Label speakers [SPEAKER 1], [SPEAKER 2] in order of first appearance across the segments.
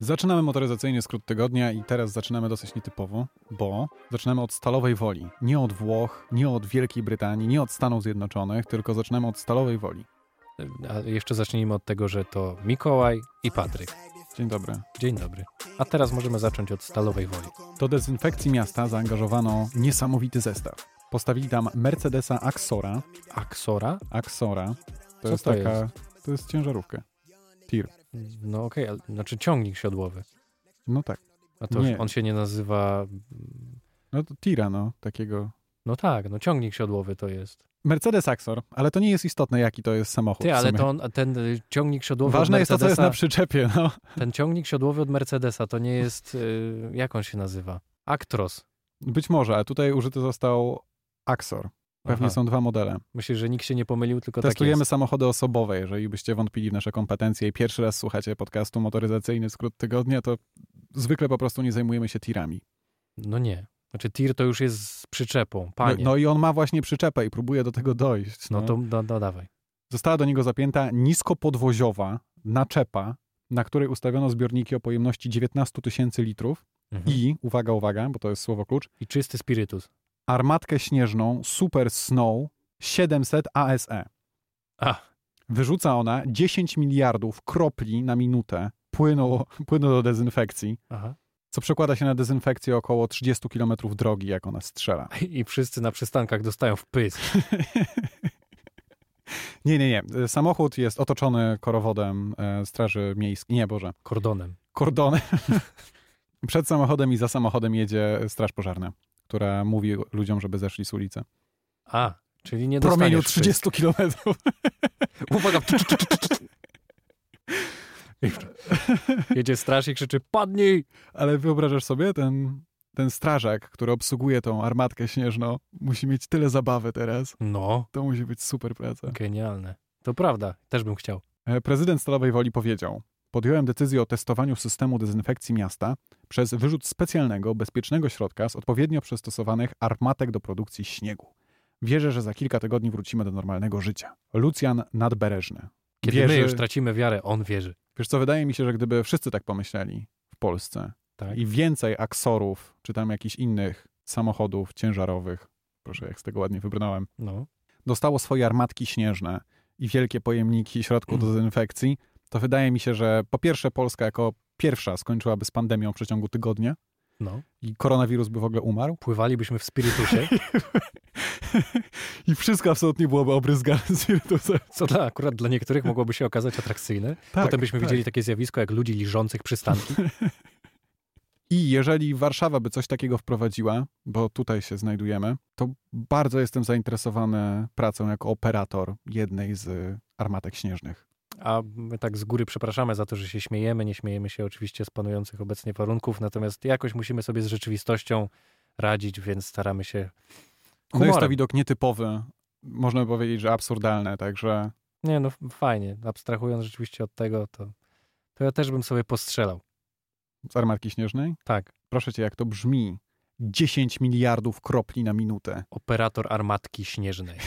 [SPEAKER 1] Zaczynamy motoryzacyjnie skrót tygodnia i teraz zaczynamy dosyć nietypowo, bo zaczynamy od Stalowej Woli. Nie od Włoch, nie od Wielkiej Brytanii, nie od Stanów Zjednoczonych, tylko zaczynamy od Stalowej Woli.
[SPEAKER 2] A jeszcze zacznijmy od tego, że to Mikołaj i Patryk.
[SPEAKER 1] Dzień dobry.
[SPEAKER 2] Dzień dobry. A teraz możemy zacząć od Stalowej Woli.
[SPEAKER 1] Do dezynfekcji miasta zaangażowano niesamowity zestaw. Postawili tam Mercedesa Axora.
[SPEAKER 2] Aksora?
[SPEAKER 1] Axora to
[SPEAKER 2] Co
[SPEAKER 1] jest
[SPEAKER 2] to
[SPEAKER 1] taka. To jest ciężarówka. Tir.
[SPEAKER 2] No okej, ale- znaczy ciągnik siodłowy.
[SPEAKER 1] No tak.
[SPEAKER 2] A to
[SPEAKER 1] Nie.
[SPEAKER 2] on się nie nazywa...
[SPEAKER 1] No to tira, no, takiego.
[SPEAKER 2] No tak, no ciągnik siodłowy to jest.
[SPEAKER 1] Mercedes Axor, ale to nie jest istotne, jaki to jest samochód.
[SPEAKER 2] Ty,
[SPEAKER 1] w
[SPEAKER 2] ale
[SPEAKER 1] sumie.
[SPEAKER 2] to on, a ten y, ciągnik siodłowy
[SPEAKER 1] Ważne
[SPEAKER 2] od
[SPEAKER 1] jest to, co jest na
[SPEAKER 2] Mercedesa-
[SPEAKER 1] przyczepie, no.
[SPEAKER 2] Ten ciągnik siodłowy od Mercedesa to nie jest... Y, jak on się nazywa? Actros.
[SPEAKER 1] Być może, ale tutaj użyty został Axor. Pewnie
[SPEAKER 2] Aha.
[SPEAKER 1] są dwa modele.
[SPEAKER 2] Myślisz, że nikt się nie pomylił, tylko
[SPEAKER 1] Testujemy
[SPEAKER 2] tak jest.
[SPEAKER 1] samochody osobowe, jeżeli byście wątpili w nasze kompetencje i pierwszy raz słuchacie podcastu motoryzacyjny skrót tygodnia, to zwykle po prostu nie zajmujemy się tirami.
[SPEAKER 2] No nie. Znaczy tir to już jest z przyczepą,
[SPEAKER 1] No,
[SPEAKER 2] panie.
[SPEAKER 1] no i on ma właśnie przyczepę i próbuje do tego dojść.
[SPEAKER 2] No to no, no, dawaj.
[SPEAKER 1] Została do niego zapięta niskopodwoziowa naczepa, na której ustawiono zbiorniki o pojemności 19 tysięcy litrów
[SPEAKER 2] Mhm. I,
[SPEAKER 1] i, uwaga, uwaga, bo to jest słowo klucz,
[SPEAKER 2] I czysty spirytus.
[SPEAKER 1] armatkę śnieżną Super Snow 700 ASE.
[SPEAKER 2] A.
[SPEAKER 1] E. Wyrzuca ona 10 miliardów kropli na minutę płynu, płynu do dezynfekcji,
[SPEAKER 2] Aha.
[SPEAKER 1] co przekłada się na dezynfekcję około 30 km drogi, jak ona strzela.
[SPEAKER 2] I wszyscy na przystankach dostają w pysk.
[SPEAKER 1] Nie, nie, nie. Samochód jest otoczony korowodem e, Straży Miejskiej. Nie, Boże.
[SPEAKER 2] kordonem.
[SPEAKER 1] kordonem. Przed samochodem i za samochodem jedzie straż pożarna, która mówi ludziom, żeby zeszli z ulicy.
[SPEAKER 2] A, czyli nie
[SPEAKER 1] Promieniu
[SPEAKER 2] dostaniesz
[SPEAKER 1] 30 kilometrów.
[SPEAKER 2] pysk. Uwaga! I w- Jedzie straż i krzyczy, padnij!
[SPEAKER 1] Ale wyobrażasz sobie, ten, ten strażak, który obsługuje tą armatkę śnieżną, musi mieć tyle zabawy teraz.
[SPEAKER 2] No,
[SPEAKER 1] To musi być super praca.
[SPEAKER 2] genialne. To prawda, też bym chciał.
[SPEAKER 1] E, Prezydent Stalowej Woli powiedział: Podjąłem decyzję o testowaniu systemu dezynfekcji miasta przez wyrzut specjalnego, bezpiecznego środka z odpowiednio przystosowanych armatek do produkcji śniegu. Wierzę, że za kilka tygodni wrócimy do normalnego życia. Lucjan Nadbereżny.
[SPEAKER 2] Kiedy
[SPEAKER 1] Wierzy-
[SPEAKER 2] my już tracimy wiarę, on wierzy.
[SPEAKER 1] Wiesz co, wydaje mi się, że gdyby wszyscy tak pomyśleli w Polsce
[SPEAKER 2] Tak?
[SPEAKER 1] i więcej aksorów, czy tam jakichś innych samochodów ciężarowych, proszę, jak z tego ładnie wybrnąłem,
[SPEAKER 2] No.
[SPEAKER 1] dostało swoje armatki śnieżne i wielkie pojemniki środków do dezynfekcji, to wydaje mi się, że po pierwsze Polska jako pierwsza skończyłaby z pandemią w przeciągu tygodnia
[SPEAKER 2] No,
[SPEAKER 1] i koronawirus by w ogóle umarł
[SPEAKER 2] pływalibyśmy w spirytusie,
[SPEAKER 1] i wszystko absolutnie byłoby obryzgane z wirusem.
[SPEAKER 2] co dla, akurat dla niektórych mogłoby się okazać atrakcyjne.
[SPEAKER 1] Tak,
[SPEAKER 2] Potem byśmy widzieli takie zjawisko jak ludzi liżących przystanki.
[SPEAKER 1] I jeżeli Warszawa by coś takiego wprowadziła, bo tutaj się znajdujemy, to bardzo jestem zainteresowany pracą jako operator jednej z armatek śnieżnych.
[SPEAKER 2] A my tak z góry przepraszamy za to, że się śmiejemy. Nie śmiejemy się oczywiście z panujących obecnie warunków, natomiast jakoś musimy sobie z rzeczywistością radzić, więc staramy się.
[SPEAKER 1] No jest to
[SPEAKER 2] Humorem.
[SPEAKER 1] widok nietypowy, można by powiedzieć, że absurdalny, także
[SPEAKER 2] Nie, no f- fajnie. Abstrahując rzeczywiście od tego, to, to ja też bym sobie postrzelał.
[SPEAKER 1] z armatki śnieżnej.
[SPEAKER 2] Tak,
[SPEAKER 1] proszę cię, jak to brzmi, 10 miliardów kropli na minutę.
[SPEAKER 2] operator armatki śnieżnej.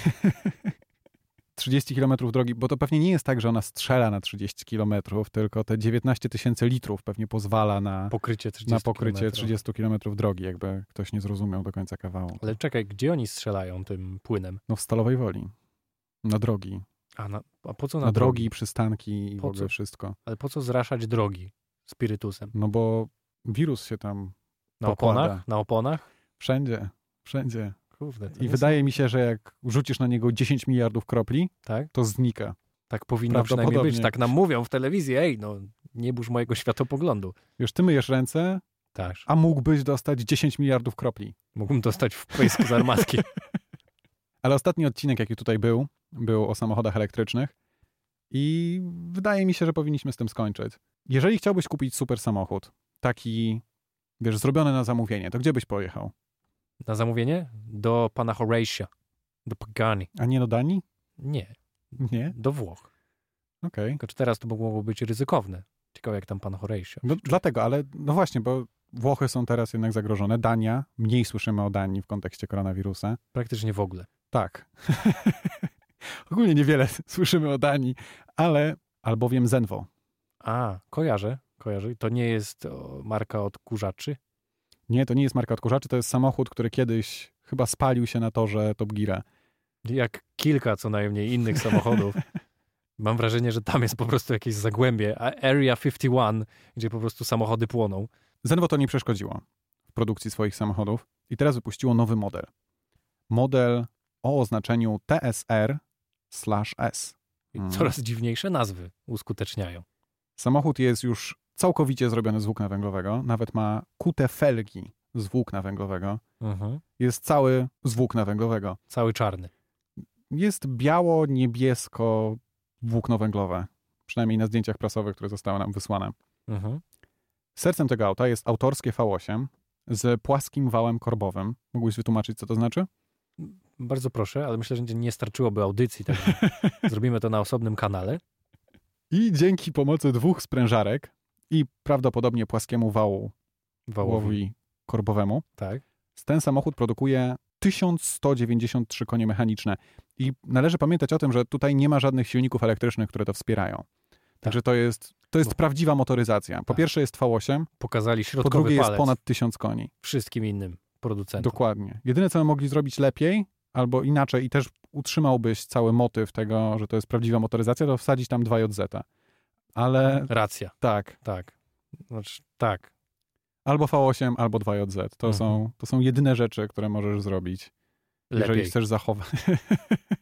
[SPEAKER 1] 30 kilometrów drogi, bo to pewnie nie jest tak, że ona strzela na 30 kilometrów, tylko te 19 tysięcy litrów pewnie pozwala na,
[SPEAKER 2] Pokrycie 30
[SPEAKER 1] na pokrycie
[SPEAKER 2] kilometrów.
[SPEAKER 1] 30 kilometrów drogi, jakby ktoś nie zrozumiał do końca kawału.
[SPEAKER 2] Ale czekaj, gdzie oni strzelają tym płynem?
[SPEAKER 1] No w Stalowej Woli. Na drogi.
[SPEAKER 2] A, na, a po co
[SPEAKER 1] Na,
[SPEAKER 2] No, na,
[SPEAKER 1] drogi, przystanki i w
[SPEAKER 2] Po
[SPEAKER 1] ogóle
[SPEAKER 2] co?
[SPEAKER 1] wszystko.
[SPEAKER 2] Ale po co zraszać drogi spirytusem?
[SPEAKER 1] No bo wirus się tam
[SPEAKER 2] Na
[SPEAKER 1] Pokłada.
[SPEAKER 2] oponach? Na oponach?
[SPEAKER 1] wszędzie, wszędzie.
[SPEAKER 2] Kurde, to tak.
[SPEAKER 1] I
[SPEAKER 2] nie-
[SPEAKER 1] wydaje mi się, że jak rzucisz na niego 10 miliardów kropli,
[SPEAKER 2] tak?
[SPEAKER 1] to znika.
[SPEAKER 2] Tak powinno przynajmniej
[SPEAKER 1] Prawdopodobnie.
[SPEAKER 2] być. Tak nam mówią w telewizji. Ej, no nie burz mojego światopoglądu.
[SPEAKER 1] Wiesz, ty myjesz ręce,
[SPEAKER 2] Tak.
[SPEAKER 1] a mógłbyś dostać 10 miliardów kropli.
[SPEAKER 2] Mógłbym dostać w pysk z armatki.
[SPEAKER 1] Ale ostatni odcinek, jaki tutaj był, był o samochodach elektrycznych i wydaje mi się, że powinniśmy z tym skończyć. Jeżeli chciałbyś kupić super samochód, taki, wiesz, zrobiony na zamówienie, to gdzie byś pojechał?
[SPEAKER 2] Na zamówienie? Do pana Horatia. Do Pagani.
[SPEAKER 1] A nie do Danii?
[SPEAKER 2] Nie,
[SPEAKER 1] Nie?
[SPEAKER 2] do Włoch.
[SPEAKER 1] Okej.
[SPEAKER 2] Tylko czy teraz to mogło być ryzykowne. Ciekawe jak tam pan Horatio.
[SPEAKER 1] No, dlatego, ale no właśnie, bo Włochy są teraz jednak zagrożone. Dania, mniej słyszymy o Danii w kontekście koronawirusa.
[SPEAKER 2] Praktycznie w ogóle.
[SPEAKER 1] Tak. Ogólnie niewiele słyszymy o Danii, ale albowiem Zenwo.
[SPEAKER 2] A, kojarzę. kojarzy. To nie jest o, marka odkurzaczy.
[SPEAKER 1] Nie, to nie jest marka odkurzaczy, to jest samochód, który kiedyś chyba spalił się na torze Top Geara.
[SPEAKER 2] Jak kilka co najmniej innych samochodów. Mam wrażenie, że tam jest po prostu jakieś zagłębie. A Area 51, gdzie po prostu samochody płoną.
[SPEAKER 1] Zenwo to nie przeszkodziło w produkcji swoich samochodów i teraz wypuściło nowy model. Model o oznaczeniu TSR/S.
[SPEAKER 2] I
[SPEAKER 1] Mhm.
[SPEAKER 2] Coraz dziwniejsze nazwy uskuteczniają.
[SPEAKER 1] Samochód jest już całkowicie zrobiony z włókna węglowego, nawet ma kute felgi z włókna węglowego.
[SPEAKER 2] Mhm.
[SPEAKER 1] Jest cały z włókna węglowego.
[SPEAKER 2] Cały czarny.
[SPEAKER 1] jest biało-niebiesko włókno węglowe. Przynajmniej na zdjęciach prasowych, które zostały nam wysłane.
[SPEAKER 2] Mhm.
[SPEAKER 1] Sercem tego auta jest autorskie V8 z płaskim wałem korbowym. Mógłbyś wytłumaczyć, co to znaczy?
[SPEAKER 2] Bardzo proszę, ale myślę, że nie starczyłoby audycji. Także zrobimy to na osobnym kanale.
[SPEAKER 1] I dzięki pomocy dwóch sprężarek i prawdopodobnie płaskiemu wału
[SPEAKER 2] Wałowi.
[SPEAKER 1] łowi korbowemu,
[SPEAKER 2] Tak.
[SPEAKER 1] ten samochód produkuje 1193 konie mechaniczne. I należy pamiętać o tym, że tutaj nie ma żadnych silników elektrycznych, które to wspierają. Także to jest, to jest
[SPEAKER 2] Tak. Bo-
[SPEAKER 1] prawdziwa motoryzacja. Po
[SPEAKER 2] Tak.
[SPEAKER 1] pierwsze jest V8,
[SPEAKER 2] Pokazali
[SPEAKER 1] po
[SPEAKER 2] środkowy
[SPEAKER 1] drugie jest
[SPEAKER 2] palec
[SPEAKER 1] ponad 1000 koni.
[SPEAKER 2] wszystkim innym producentom.
[SPEAKER 1] Dokładnie. Jedyne, co mogli zrobić lepiej albo inaczej i też utrzymałbyś cały motyw tego, że to jest prawdziwa motoryzacja, to wsadzić tam 2JZ. Ale
[SPEAKER 2] Racja,
[SPEAKER 1] tak,
[SPEAKER 2] tak. Znaczy, tak.
[SPEAKER 1] albo V8, albo 2JZ. To,
[SPEAKER 2] Mhm.
[SPEAKER 1] są, to są jedyne rzeczy, które możesz zrobić,
[SPEAKER 2] Lepiej.
[SPEAKER 1] jeżeli chcesz zachować.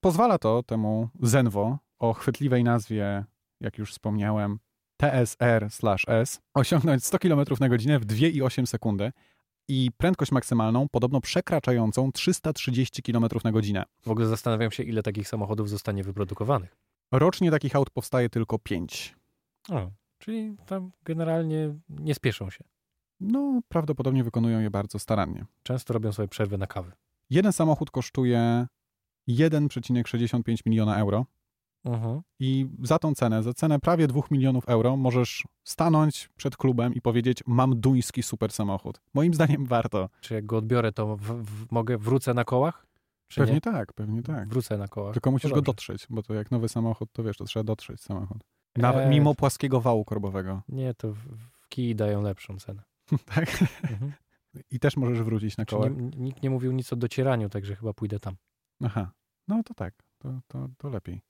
[SPEAKER 1] Pozwala to temu Zenwo o chwytliwej nazwie, jak już wspomniałem, TSR/S osiągnąć 100 km na godzinę w 2,8 sekundy i prędkość maksymalną podobno przekraczającą 330 km na godzinę.
[SPEAKER 2] W ogóle zastanawiam się, ile takich samochodów zostanie wyprodukowanych.
[SPEAKER 1] Rocznie takich aut powstaje tylko 5.
[SPEAKER 2] O, czyli tam generalnie nie spieszą się.
[SPEAKER 1] No, prawdopodobnie wykonują je bardzo starannie.
[SPEAKER 2] Często robią sobie przerwy na kawę.
[SPEAKER 1] Jeden samochód kosztuje 1,65 miliona euro. Mhm. I za tą cenę, za cenę prawie 2 milionów euro, możesz stanąć przed klubem i powiedzieć: Mam duński super samochód. Moim zdaniem warto.
[SPEAKER 2] Czy jak go odbiorę, to w, w, mogę wrócę na kołach? Czy
[SPEAKER 1] Pewnie
[SPEAKER 2] nie?
[SPEAKER 1] tak, pewnie tak.
[SPEAKER 2] Wrócę na kołach.
[SPEAKER 1] Tylko musisz
[SPEAKER 2] No
[SPEAKER 1] go
[SPEAKER 2] dobrze.
[SPEAKER 1] dotrzeć, bo to jak nowy samochód, to wiesz, to trzeba dotrzeć samochód. Nawet
[SPEAKER 2] Eee.
[SPEAKER 1] mimo płaskiego wału korbowego.
[SPEAKER 2] Nie, to w, w kij dają lepszą cenę.
[SPEAKER 1] Tak?
[SPEAKER 2] Mhm.
[SPEAKER 1] I też możesz wrócić na
[SPEAKER 2] Czy
[SPEAKER 1] kołek.
[SPEAKER 2] nie- nikt nie mówił nic o docieraniu, także chyba pójdę tam.
[SPEAKER 1] Aha, no to tak, to, to, to lepiej.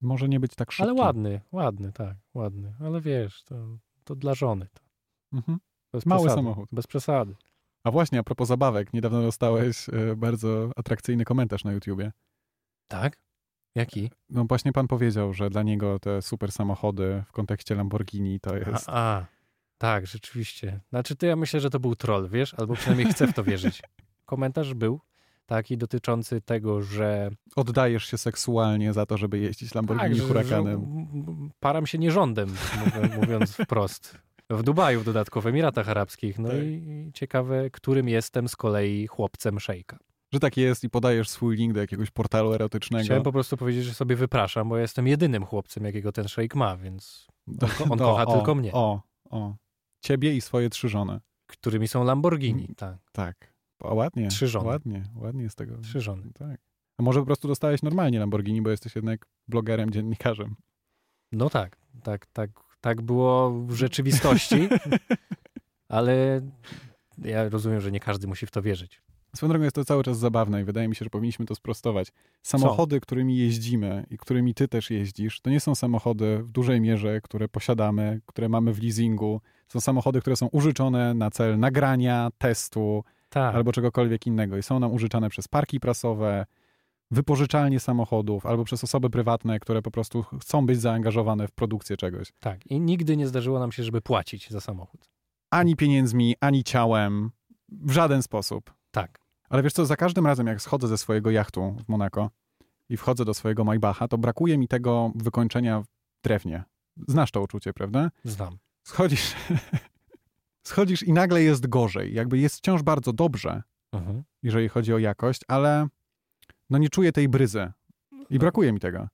[SPEAKER 1] Może nie być tak szybki.
[SPEAKER 2] Ale ładny, ładny, tak, ładny. Ale wiesz, to, to dla żony. To
[SPEAKER 1] Mhm.
[SPEAKER 2] bez
[SPEAKER 1] Mały
[SPEAKER 2] przesady.
[SPEAKER 1] samochód.
[SPEAKER 2] Bez przesady.
[SPEAKER 1] A właśnie, a propos zabawek, niedawno dostałeś e, bardzo atrakcyjny komentarz na YouTubie.
[SPEAKER 2] Tak? Jaki?
[SPEAKER 1] No właśnie pan powiedział, że dla niego te super samochody w kontekście Lamborghini to jest...
[SPEAKER 2] A, a, tak, rzeczywiście. Znaczy, to ja myślę, że to był troll, wiesz? Albo przynajmniej chcę w to wierzyć. Komentarz był taki dotyczący tego, że.
[SPEAKER 1] Oddajesz się seksualnie za to, żeby jeździć Lamborghini
[SPEAKER 2] Tak, że-
[SPEAKER 1] hurakanem.
[SPEAKER 2] że m- m- Param się nierządem, mów- mówiąc wprost. W Dubaju dodatkowo, w Emiratach Arabskich. No
[SPEAKER 1] Tak.
[SPEAKER 2] i ciekawe, którym jestem z kolei chłopcem szejka.
[SPEAKER 1] Że tak jest i podajesz swój link do jakiegoś portalu erotycznego.
[SPEAKER 2] Chciałem po prostu powiedzieć, że sobie wypraszam, bo ja jestem jedynym chłopcem, jakiego ten szejk ma, więc ko- on kocha tylko mnie.
[SPEAKER 1] O, o. Ciebie i swoje trzy żony.
[SPEAKER 2] którymi są Lamborghini, tak.
[SPEAKER 1] Tak. O, ładnie.
[SPEAKER 2] Trzy żony.
[SPEAKER 1] Ładnie, ładnie z tego.
[SPEAKER 2] Trzy żony.
[SPEAKER 1] Tak. A może po prostu dostałeś normalnie Lamborghini, bo jesteś jednak blogerem, dziennikarzem.
[SPEAKER 2] No tak, tak, tak, tak było w rzeczywistości, ale ja rozumiem, że nie każdy musi w to wierzyć.
[SPEAKER 1] Swoją drogą jest to cały czas zabawne i wydaje mi się, że powinniśmy to sprostować. Samochody, którymi jeździmy i którymi ty też jeździsz, to nie są samochody w dużej mierze, które posiadamy, które mamy w leasingu. Są samochody, które są użyczone na cel nagrania, testu
[SPEAKER 2] Tak,
[SPEAKER 1] albo czegokolwiek innego i są nam użyczane przez parki prasowe, wypożyczalnie samochodów albo przez osoby prywatne, które po prostu chcą być zaangażowane w produkcję czegoś.
[SPEAKER 2] tak. I nigdy nie zdarzyło nam się, żeby płacić za samochód.
[SPEAKER 1] Ani pieniędzmi, ani ciałem, w żaden sposób.
[SPEAKER 2] Tak.
[SPEAKER 1] Ale wiesz co, za każdym razem jak schodzę ze swojego jachtu w Monako i wchodzę do swojego Maybacha, to brakuje mi tego wykończenia w drewnie. Znasz to uczucie, prawda?
[SPEAKER 2] Znam.
[SPEAKER 1] Schodzisz, schodzisz i nagle jest gorzej. Jakby jest wciąż bardzo dobrze,
[SPEAKER 2] Mhm.
[SPEAKER 1] jeżeli chodzi o jakość, ale no nie czuję tej bryzy. I brakuje mi tego.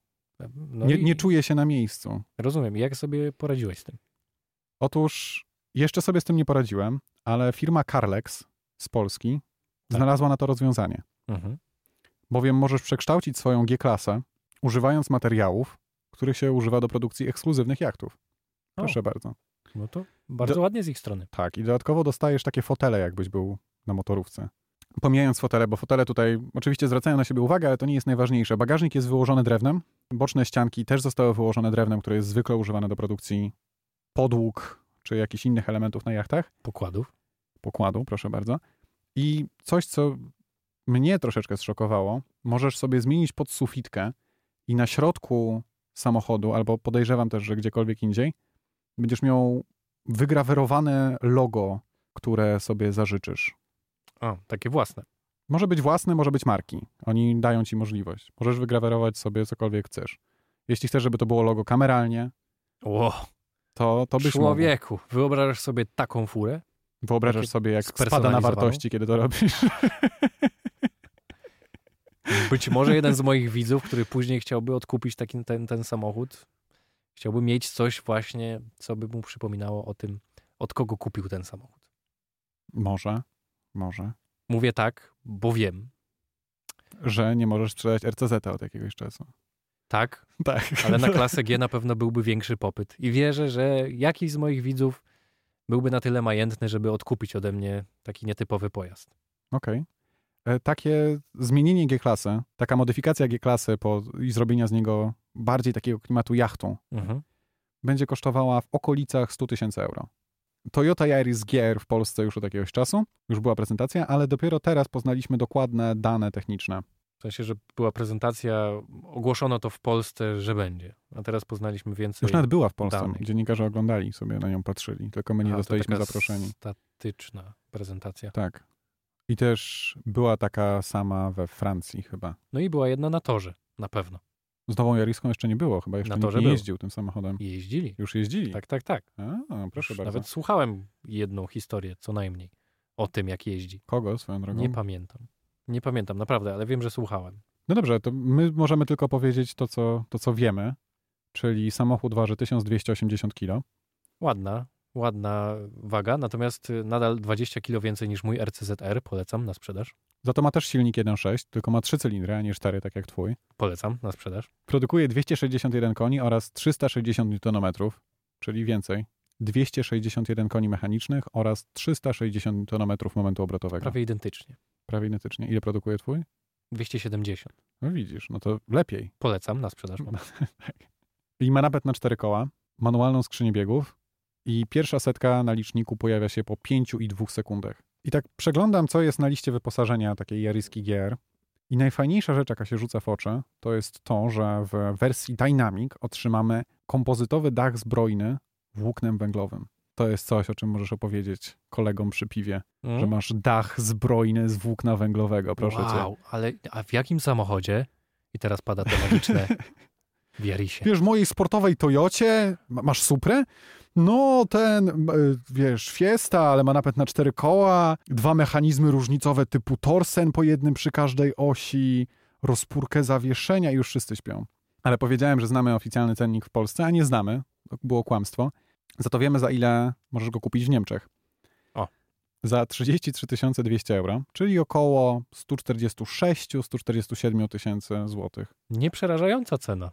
[SPEAKER 2] No
[SPEAKER 1] Nie,
[SPEAKER 2] i
[SPEAKER 1] nie czuję się na miejscu.
[SPEAKER 2] Rozumiem. Jak sobie poradziłeś z tym?
[SPEAKER 1] Otóż jeszcze sobie z tym nie poradziłem, ale firma Carlex z Polski
[SPEAKER 2] Tak.
[SPEAKER 1] znalazła na to rozwiązanie.
[SPEAKER 2] Mhm.
[SPEAKER 1] bowiem możesz przekształcić swoją G-klasę, używając materiałów, których się używa do produkcji ekskluzywnych jachtów. Proszę bardzo.
[SPEAKER 2] No to bardzo
[SPEAKER 1] Do-
[SPEAKER 2] ładnie z ich strony.
[SPEAKER 1] Tak, i dodatkowo dostajesz takie fotele, jakbyś był na motorówce. Pomijając fotele, bo fotele tutaj oczywiście zwracają na siebie uwagę, ale to nie jest najważniejsze. Bagażnik jest wyłożony drewnem, boczne ścianki też zostały wyłożone drewnem, które jest zwykle używane do produkcji podłóg czy jakichś innych elementów na jachtach.
[SPEAKER 2] Pokładów.
[SPEAKER 1] Pokładu, proszę bardzo. I coś, co mnie troszeczkę zszokowało, możesz sobie zmienić podsufitkę i na środku samochodu, albo podejrzewam też, że gdziekolwiek indziej, będziesz miał wygrawerowane logo, które sobie zażyczysz.
[SPEAKER 2] O, takie własne.
[SPEAKER 1] Może być własne, może być marki. Oni dają ci możliwość. Możesz wygrawerować sobie cokolwiek chcesz. Jeśli chcesz, żeby to było logo kameralnie,
[SPEAKER 2] Ło,
[SPEAKER 1] to, to byś mógł.
[SPEAKER 2] człowieku, wyobrażasz sobie taką furę?
[SPEAKER 1] Wyobrażasz
[SPEAKER 2] Takie
[SPEAKER 1] sobie, jak spada na
[SPEAKER 2] spersonalizowane?
[SPEAKER 1] wartości, kiedy to robisz.
[SPEAKER 2] Być może jeden z moich widzów, który później chciałby odkupić taki, ten, ten samochód, chciałby mieć coś właśnie, co by mu przypominało o tym, od kogo kupił ten samochód.
[SPEAKER 1] Może, może.
[SPEAKER 2] Mówię tak, bo wiem.
[SPEAKER 1] Że nie możesz sprzedać RCZ od jakiegoś czasu.
[SPEAKER 2] Tak,
[SPEAKER 1] Tak.
[SPEAKER 2] ale na klasę G na pewno byłby większy popyt. I wierzę, że jakiś z moich widzów byłby na tyle majętny, żeby odkupić ode mnie taki nietypowy pojazd.
[SPEAKER 1] Okej. E, Takie zmienienie G-klasy, taka modyfikacja G-klasy po, i zrobienia z niego bardziej takiego klimatu jachtu,
[SPEAKER 2] Mhm.
[SPEAKER 1] będzie kosztowała w okolicach 100 tysięcy euro. Toyota Yaris GR w Polsce już od jakiegoś czasu, już była prezentacja, ale dopiero teraz poznaliśmy dokładne dane techniczne.
[SPEAKER 2] W sensie, że była prezentacja, ogłoszono to w Polsce, że będzie. A teraz poznaliśmy więcej.
[SPEAKER 1] Już nawet była w Polsce,
[SPEAKER 2] Danych.
[SPEAKER 1] dziennikarze oglądali sobie, na nią patrzyli, tylko my nie
[SPEAKER 2] Aha, to
[SPEAKER 1] dostaliśmy
[SPEAKER 2] taka
[SPEAKER 1] zaproszeni.
[SPEAKER 2] Statyczna prezentacja.
[SPEAKER 1] Tak. I też była taka sama we Francji chyba.
[SPEAKER 2] No i była jedna na torze, na pewno.
[SPEAKER 1] Z nową Jariską jeszcze nie było, chyba jeszcze
[SPEAKER 2] Na
[SPEAKER 1] nikt
[SPEAKER 2] torze
[SPEAKER 1] nie
[SPEAKER 2] był.
[SPEAKER 1] jeździł tym samochodem.
[SPEAKER 2] I jeździli.
[SPEAKER 1] Już jeździli?
[SPEAKER 2] Tak, tak, tak.
[SPEAKER 1] A, proszę
[SPEAKER 2] Już
[SPEAKER 1] bardzo.
[SPEAKER 2] Nawet słuchałem jedną historię, co najmniej, o tym, jak jeździ.
[SPEAKER 1] Kogo swoją drogą?
[SPEAKER 2] Nie pamiętam. Nie pamiętam, naprawdę, ale wiem, że słuchałem.
[SPEAKER 1] No dobrze, to my możemy tylko powiedzieć to, co, to, co wiemy, czyli samochód waży 1280 kg.
[SPEAKER 2] Ładna, ładna waga, natomiast y, nadal 20 kilo więcej niż mój RCZR. Polecam na sprzedaż.
[SPEAKER 1] Za to ma też silnik 1.6, tylko ma 3 cylindry, a nie 4, tak jak twój.
[SPEAKER 2] Polecam na sprzedaż.
[SPEAKER 1] Produkuje 261 koni oraz 360 Nm, czyli więcej. 261 koni mechanicznych oraz 360 Nm momentu obrotowego.
[SPEAKER 2] Prawie identycznie.
[SPEAKER 1] Prawie identycznie. Ile produkuje twój?
[SPEAKER 2] 270.
[SPEAKER 1] No widzisz, no to lepiej.
[SPEAKER 2] Polecam na sprzedaż. mam.
[SPEAKER 1] I ma napęd na cztery koła, manualną skrzynię biegów i pierwsza setka na liczniku pojawia się po 5,2 sekundach. I tak przeglądam, co jest na liście wyposażenia takiej Jariski GR. I najfajniejsza rzecz, jaka się rzuca w oczy, to jest to, że w wersji Dynamic otrzymamy kompozytowy dach zbrojny włóknem węglowym. To jest coś, o czym możesz opowiedzieć kolegom przy piwie,
[SPEAKER 2] Mm?
[SPEAKER 1] że masz dach zbrojny z włókna węglowego, proszę cię.
[SPEAKER 2] wow, ale a w jakim samochodzie? I teraz pada to magiczne w Jarisie.
[SPEAKER 1] Wiesz, w mojej sportowej Toyocie, ma- masz Suprę? No, ten, m, y, wiesz, Fiesta, ale ma napęd na cztery koła, dwa mechanizmy różnicowe typu torsen po jednym przy każdej osi, rozpórkę zawieszenia i już wszyscy śpią. Ale powiedziałem, że znamy oficjalny cennik w Polsce, a nie znamy. To było kłamstwo. Za to wiemy, za ile możesz go kupić w Niemczech.
[SPEAKER 2] O.
[SPEAKER 1] Za 33 200 euro, czyli około 146-147 tysięcy złotych.
[SPEAKER 2] Nieprzerażająca cena.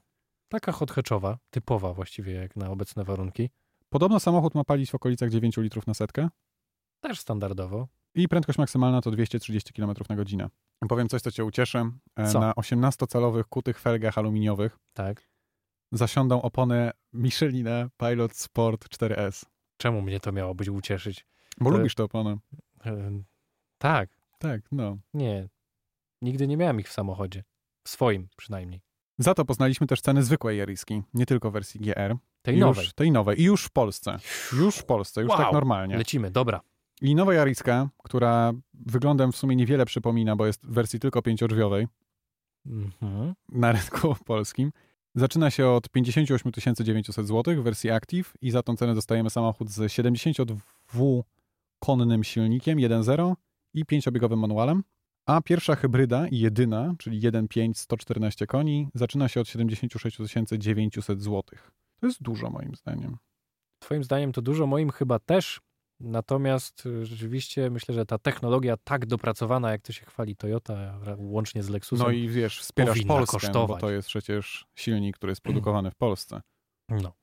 [SPEAKER 2] Taka hot hatchowa, typowa właściwie jak na obecne warunki.
[SPEAKER 1] Podobno samochód ma palić w okolicach 9 litrów na setkę
[SPEAKER 2] Też standardowo.
[SPEAKER 1] i prędkość maksymalna to 230 km na godzinę. Powiem coś, co cię ucieszy. E,
[SPEAKER 2] Co?
[SPEAKER 1] Na 18-calowych kutych felgach aluminiowych
[SPEAKER 2] Tak.
[SPEAKER 1] zasiądą opony Michelin Pilot Sport 4S.
[SPEAKER 2] Czemu mnie to miało być ucieszyć?
[SPEAKER 1] Bo
[SPEAKER 2] To-
[SPEAKER 1] lubisz te opony.
[SPEAKER 2] Em, Tak,
[SPEAKER 1] Tak, no.
[SPEAKER 2] nie. Nigdy nie miałem ich w samochodzie. W swoim przynajmniej.
[SPEAKER 1] Za to poznaliśmy też ceny zwykłej Jariski, nie tylko wersji GR.
[SPEAKER 2] Tej
[SPEAKER 1] I już,
[SPEAKER 2] nowej.
[SPEAKER 1] Tej nowej. I już w Polsce. Już w Polsce, już
[SPEAKER 2] Wow.
[SPEAKER 1] tak normalnie.
[SPEAKER 2] Lecimy, dobra.
[SPEAKER 1] I nowa Jariska, która wyglądem w sumie niewiele przypomina, bo jest w wersji tylko pięciodrzwiowej,
[SPEAKER 2] Mhm.
[SPEAKER 1] na rynku polskim. Zaczyna się od 58 900 zł w wersji Active i za tą cenę dostajemy samochód z 72-konnym silnikiem 1.0 i 5-biegowym manualem. A pierwsza hybryda, i jedyna, czyli 1.5 114 koni, zaczyna się od 76 900 zł. To jest dużo moim zdaniem.
[SPEAKER 2] Twoim zdaniem to dużo, moim chyba też. Natomiast y, rzeczywiście myślę, że ta technologia tak dopracowana, jak to się chwali Toyota, ra- łącznie z Lexusem.
[SPEAKER 1] No i wiesz, wspierasz
[SPEAKER 2] powinna
[SPEAKER 1] Polskę, bo
[SPEAKER 2] kosztować.
[SPEAKER 1] to jest przecież silnik, który jest produkowany w Polsce.
[SPEAKER 2] No.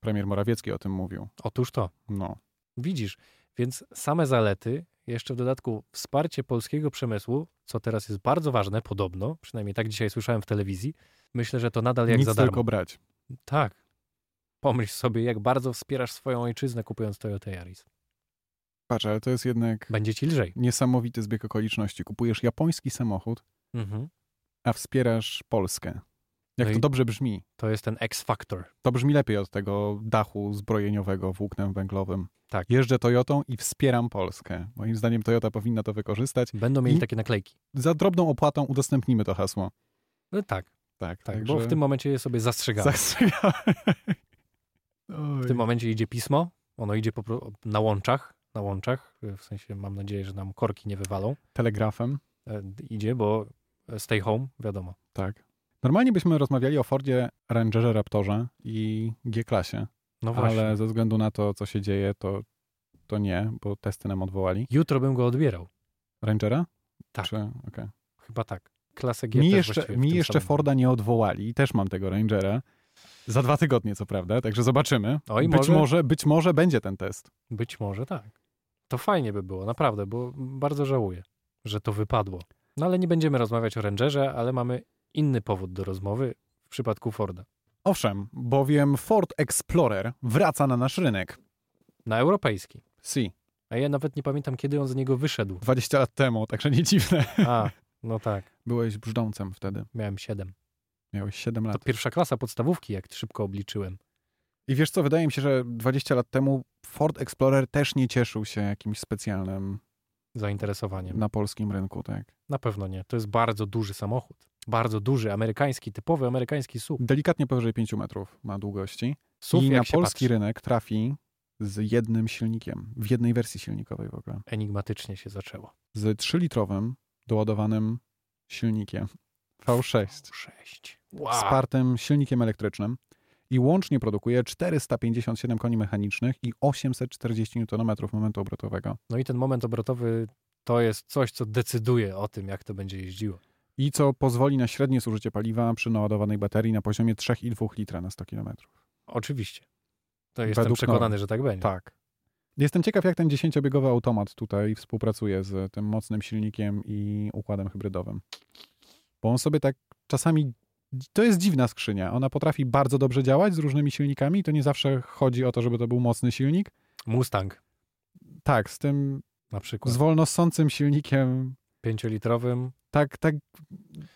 [SPEAKER 1] Premier Morawiecki o tym mówił.
[SPEAKER 2] Otóż to.
[SPEAKER 1] No.
[SPEAKER 2] Widzisz, więc same zalety, jeszcze w dodatku wsparcie polskiego przemysłu, co teraz jest bardzo ważne, podobno, przynajmniej tak dzisiaj słyszałem w telewizji, myślę, że to nadal jak
[SPEAKER 1] Nic
[SPEAKER 2] za darmo.
[SPEAKER 1] tylko brać.
[SPEAKER 2] Tak. Pomyśl sobie, jak bardzo wspierasz swoją ojczyznę kupując Toyota Yaris.
[SPEAKER 1] Patrz, ale to jest jednak
[SPEAKER 2] Będzie ci lżej.
[SPEAKER 1] niesamowity zbieg okoliczności. Kupujesz japoński samochód,
[SPEAKER 2] Mhm.
[SPEAKER 1] a wspierasz Polskę. Jak
[SPEAKER 2] No
[SPEAKER 1] to
[SPEAKER 2] i-
[SPEAKER 1] dobrze brzmi.
[SPEAKER 2] To jest ten X-Factor.
[SPEAKER 1] To brzmi lepiej od tego dachu zbrojeniowego włóknem węglowym.
[SPEAKER 2] Tak.
[SPEAKER 1] Jeżdżę Toyotą i wspieram Polskę. Moim zdaniem Toyota powinna to wykorzystać.
[SPEAKER 2] Będą mieli
[SPEAKER 1] I-
[SPEAKER 2] takie naklejki.
[SPEAKER 1] Za drobną opłatą udostępnimy to hasło.
[SPEAKER 2] No tak,
[SPEAKER 1] Tak,
[SPEAKER 2] tak,
[SPEAKER 1] także-
[SPEAKER 2] bo w tym momencie je sobie zastrzegamy.
[SPEAKER 1] Zastrzegamy. Oj.
[SPEAKER 2] W tym momencie idzie pismo, ono idzie po, pro- na łączach, na łączach, w sensie mam nadzieję, że nam korki nie wywalą.
[SPEAKER 1] Telegrafem,
[SPEAKER 2] E, idzie, bo stay home, wiadomo.
[SPEAKER 1] tak. Normalnie byśmy rozmawiali o Fordzie, Rangerze, Raptorze i G-klasie,
[SPEAKER 2] No właśnie.
[SPEAKER 1] ale ze względu na to, co się dzieje, to, to nie, bo testy nam odwołali.
[SPEAKER 2] Jutro bym go odbierał.
[SPEAKER 1] Rangera?
[SPEAKER 2] Tak.
[SPEAKER 1] Czy, okej.
[SPEAKER 2] Chyba tak. Klasę G
[SPEAKER 1] Mi
[SPEAKER 2] też
[SPEAKER 1] jeszcze,
[SPEAKER 2] właściwie w
[SPEAKER 1] mi
[SPEAKER 2] tym
[SPEAKER 1] jeszcze
[SPEAKER 2] samym.
[SPEAKER 1] Forda nie odwołali i też mam tego Rangera. Za dwa tygodnie, co prawda, także zobaczymy.
[SPEAKER 2] Oj,
[SPEAKER 1] być
[SPEAKER 2] może-
[SPEAKER 1] Być może będzie ten test.
[SPEAKER 2] Być może tak. To fajnie by było, naprawdę, bo bardzo żałuję, że to wypadło. No ale nie będziemy rozmawiać o Rangerze, ale mamy inny powód do rozmowy w przypadku Forda.
[SPEAKER 1] Owszem, bowiem Ford Explorer wraca na nasz rynek.
[SPEAKER 2] Na europejski.
[SPEAKER 1] Si,
[SPEAKER 2] A ja nawet nie pamiętam, kiedy on z niego wyszedł.
[SPEAKER 1] 20 lat temu, także nie dziwne.
[SPEAKER 2] A, no tak,
[SPEAKER 1] Byłeś brzdącem wtedy.
[SPEAKER 2] miałem 7.
[SPEAKER 1] Miałeś 7
[SPEAKER 2] To
[SPEAKER 1] lat.
[SPEAKER 2] pierwsza klasa podstawówki, jak szybko obliczyłem.
[SPEAKER 1] I wiesz co, wydaje mi się, że 20 lat temu Ford Explorer też nie cieszył się jakimś specjalnym
[SPEAKER 2] Zainteresowaniem.
[SPEAKER 1] na polskim rynku, tak.
[SPEAKER 2] Na pewno nie. To jest bardzo duży samochód. Bardzo duży, amerykański, typowy amerykański SUV.
[SPEAKER 1] Delikatnie powyżej 5 metrów ma długości.
[SPEAKER 2] SUV
[SPEAKER 1] I
[SPEAKER 2] jak
[SPEAKER 1] na
[SPEAKER 2] się
[SPEAKER 1] polski
[SPEAKER 2] patrzy.
[SPEAKER 1] rynek trafi z jednym silnikiem, w jednej wersji silnikowej w ogóle.
[SPEAKER 2] Enigmatycznie się zaczęło.
[SPEAKER 1] Z 3-litrowym doładowanym silnikiem V6,
[SPEAKER 2] Sześć. Wow.
[SPEAKER 1] wspartym silnikiem elektrycznym i łącznie produkuje 457 koni mechanicznych i 840 Nm momentu obrotowego.
[SPEAKER 2] No i ten moment obrotowy to jest coś, co decyduje o tym, jak to będzie jeździło.
[SPEAKER 1] i co pozwoli na średnie zużycie paliwa przy naładowanej baterii na poziomie 3,2 litra na 100 km.
[SPEAKER 2] Oczywiście. To jestem
[SPEAKER 1] Według
[SPEAKER 2] przekonany,
[SPEAKER 1] norm.
[SPEAKER 2] że tak będzie.
[SPEAKER 1] Tak. Jestem ciekaw, jak ten 10-biegowy automat tutaj współpracuje z tym mocnym silnikiem i układem hybrydowym. Bo on sobie tak czasami. To jest dziwna skrzynia. Ona potrafi bardzo dobrze działać z różnymi silnikami. To nie zawsze chodzi o to, żeby to był mocny silnik.
[SPEAKER 2] Mustang
[SPEAKER 1] Tak, z tym
[SPEAKER 2] na przykład.
[SPEAKER 1] z wolnosącym silnikiem.
[SPEAKER 2] Pięciolitrowym.
[SPEAKER 1] Tak, tak.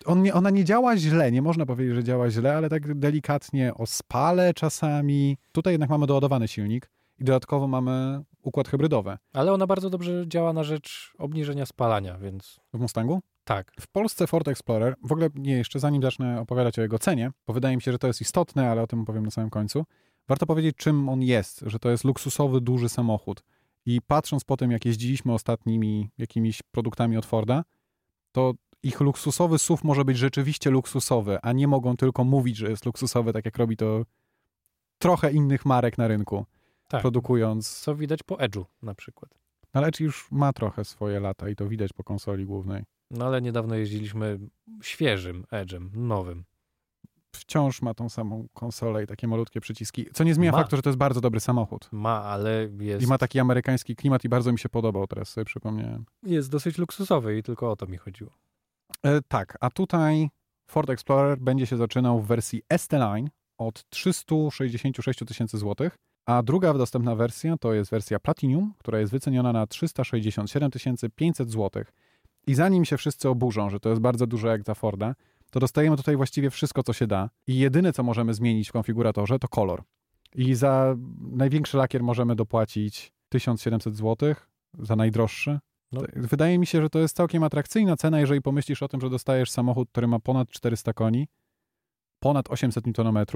[SPEAKER 1] On nie, ona nie działa źle, nie można powiedzieć, że działa źle, ale tak delikatnie o spale czasami. Tutaj jednak mamy doładowany silnik i dodatkowo mamy układ hybrydowy.
[SPEAKER 2] Ale ona bardzo dobrze działa na rzecz obniżenia spalania, więc
[SPEAKER 1] W Mustangu?
[SPEAKER 2] tak.
[SPEAKER 1] W Polsce Ford Explorer, w ogóle nie, jeszcze zanim zacznę opowiadać o jego cenie, bo wydaje mi się, że to jest istotne, ale o tym powiem na samym końcu, warto powiedzieć, czym on jest, że to jest luksusowy, duży samochód. I patrząc po tym, jak jeździliśmy ostatnimi jakimiś produktami od Forda, to ich luksusowy SUV może być rzeczywiście luksusowy, a nie mogą tylko mówić, że jest luksusowy, tak jak robi to trochę innych marek na rynku,
[SPEAKER 2] tak.
[SPEAKER 1] produkując.
[SPEAKER 2] Co widać po Edge'u na przykład.
[SPEAKER 1] No, Ale czy już ma trochę swoje lata i to widać po konsoli głównej.
[SPEAKER 2] No ale niedawno jeździliśmy świeżym Edge'em, nowym.
[SPEAKER 1] wciąż ma tą samą konsolę i takie malutkie przyciski, co nie zmienia
[SPEAKER 2] Ma.
[SPEAKER 1] faktu, że to jest bardzo dobry samochód.
[SPEAKER 2] Ma, ale jest,
[SPEAKER 1] I ma tak- taki amerykański klimat i bardzo mi się podobał, teraz sobie przypomniałem.
[SPEAKER 2] jest dosyć luksusowy i tylko o to mi chodziło.
[SPEAKER 1] E, tak, a tutaj Ford Explorer będzie się zaczynał w wersji ST-Line od 366 000 tysięcy złotych, a druga dostępna wersja to jest wersja Platinum, która jest wyceniona na 367 500 złotych. I zanim się wszyscy oburzą, że to jest bardzo dużo jak za Forda, to dostajemy tutaj właściwie wszystko, co się da i jedyne, co możemy zmienić w konfiguratorze, to kolor. I za największy lakier możemy dopłacić 1700 złotych, za najdroższy,
[SPEAKER 2] No.
[SPEAKER 1] tak, Wydaje mi się, że to jest całkiem atrakcyjna cena, jeżeli pomyślisz o tym, że dostajesz samochód, który ma ponad 400 koni, ponad 800 Nm,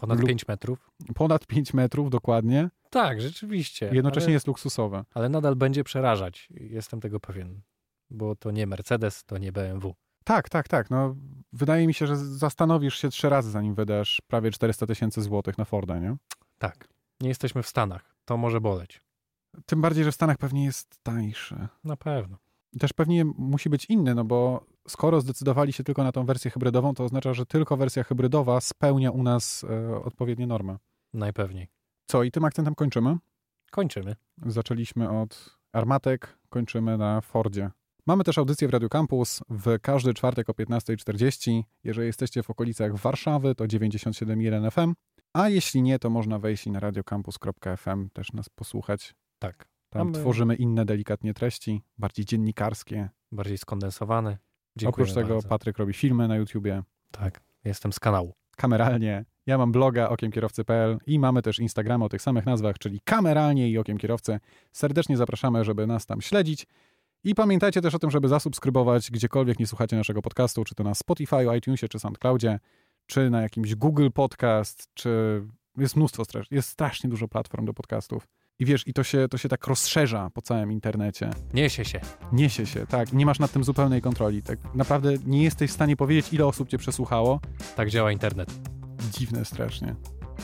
[SPEAKER 2] Ponad
[SPEAKER 1] Lu-
[SPEAKER 2] 5 metrów.
[SPEAKER 1] ponad 5 metrów dokładnie,
[SPEAKER 2] Tak, rzeczywiście.
[SPEAKER 1] i jednocześnie
[SPEAKER 2] ale...
[SPEAKER 1] jest luksusowe.
[SPEAKER 2] ale nadal będzie przerażać. Jestem tego pewien. Bo to nie Mercedes, to nie BMW.
[SPEAKER 1] Tak, tak, tak. No, wydaje mi się, że zastanowisz się trzy razy, zanim wydasz prawie 400 tysięcy złotych na Forda, nie?
[SPEAKER 2] Tak. Nie jesteśmy w Stanach. To może boleć.
[SPEAKER 1] Tym bardziej, że w Stanach pewnie jest tańszy.
[SPEAKER 2] Na pewno.
[SPEAKER 1] I Też pewnie musi być inny, no bo skoro zdecydowali się tylko na tą wersję hybrydową, to oznacza, że tylko wersja hybrydowa spełnia u nas e, odpowiednie normy.
[SPEAKER 2] Najpewniej.
[SPEAKER 1] Co, i tym akcentem kończymy?
[SPEAKER 2] Kończymy.
[SPEAKER 1] Zaczęliśmy od armatek, kończymy na Fordzie. Mamy też audycję w Radio Campus w każdy czwartek o 15.40. Jeżeli jesteście w okolicach Warszawy, to 97.1 FM. A jeśli nie, to można wejść i na radiocampus.fm też nas posłuchać.
[SPEAKER 2] Tak.
[SPEAKER 1] Tam
[SPEAKER 2] A my-
[SPEAKER 1] tworzymy inne delikatnie treści, bardziej dziennikarskie.
[SPEAKER 2] Bardziej skondensowane. Dziękuję
[SPEAKER 1] Oprócz tego
[SPEAKER 2] bardzo.
[SPEAKER 1] Patryk robi filmy na YouTubie,
[SPEAKER 2] Tak. Jestem z kanału.
[SPEAKER 1] kameralnie. Ja mam bloga okiemkierowcy.pl i mamy też Instagrama o tych samych nazwach, czyli kameralnie i okiem kierowcy. Serdecznie zapraszamy, żeby nas tam śledzić. I pamiętajcie też o tym, żeby zasubskrybować gdziekolwiek nie słuchacie naszego podcastu, czy to na Spotify, iTunesie, czy SoundCloudzie, czy na jakimś Google Podcast, czy jest mnóstwo, strasz- jest strasznie dużo platform do podcastów. I wiesz, i to się, to się tak rozszerza po całym internecie.
[SPEAKER 2] Niesie się.
[SPEAKER 1] Niesie się, tak. Nie masz nad tym zupełnej kontroli. Tak naprawdę nie jesteś w stanie powiedzieć, ile osób cię przesłuchało.
[SPEAKER 2] Tak działa internet.
[SPEAKER 1] Dziwne strasznie.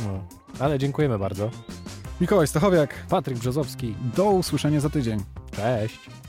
[SPEAKER 2] No. Ale dziękujemy bardzo.
[SPEAKER 1] Mikołaj Stachowiak,
[SPEAKER 2] Patryk Brzozowski.
[SPEAKER 1] do usłyszenia za tydzień.
[SPEAKER 2] Cześć.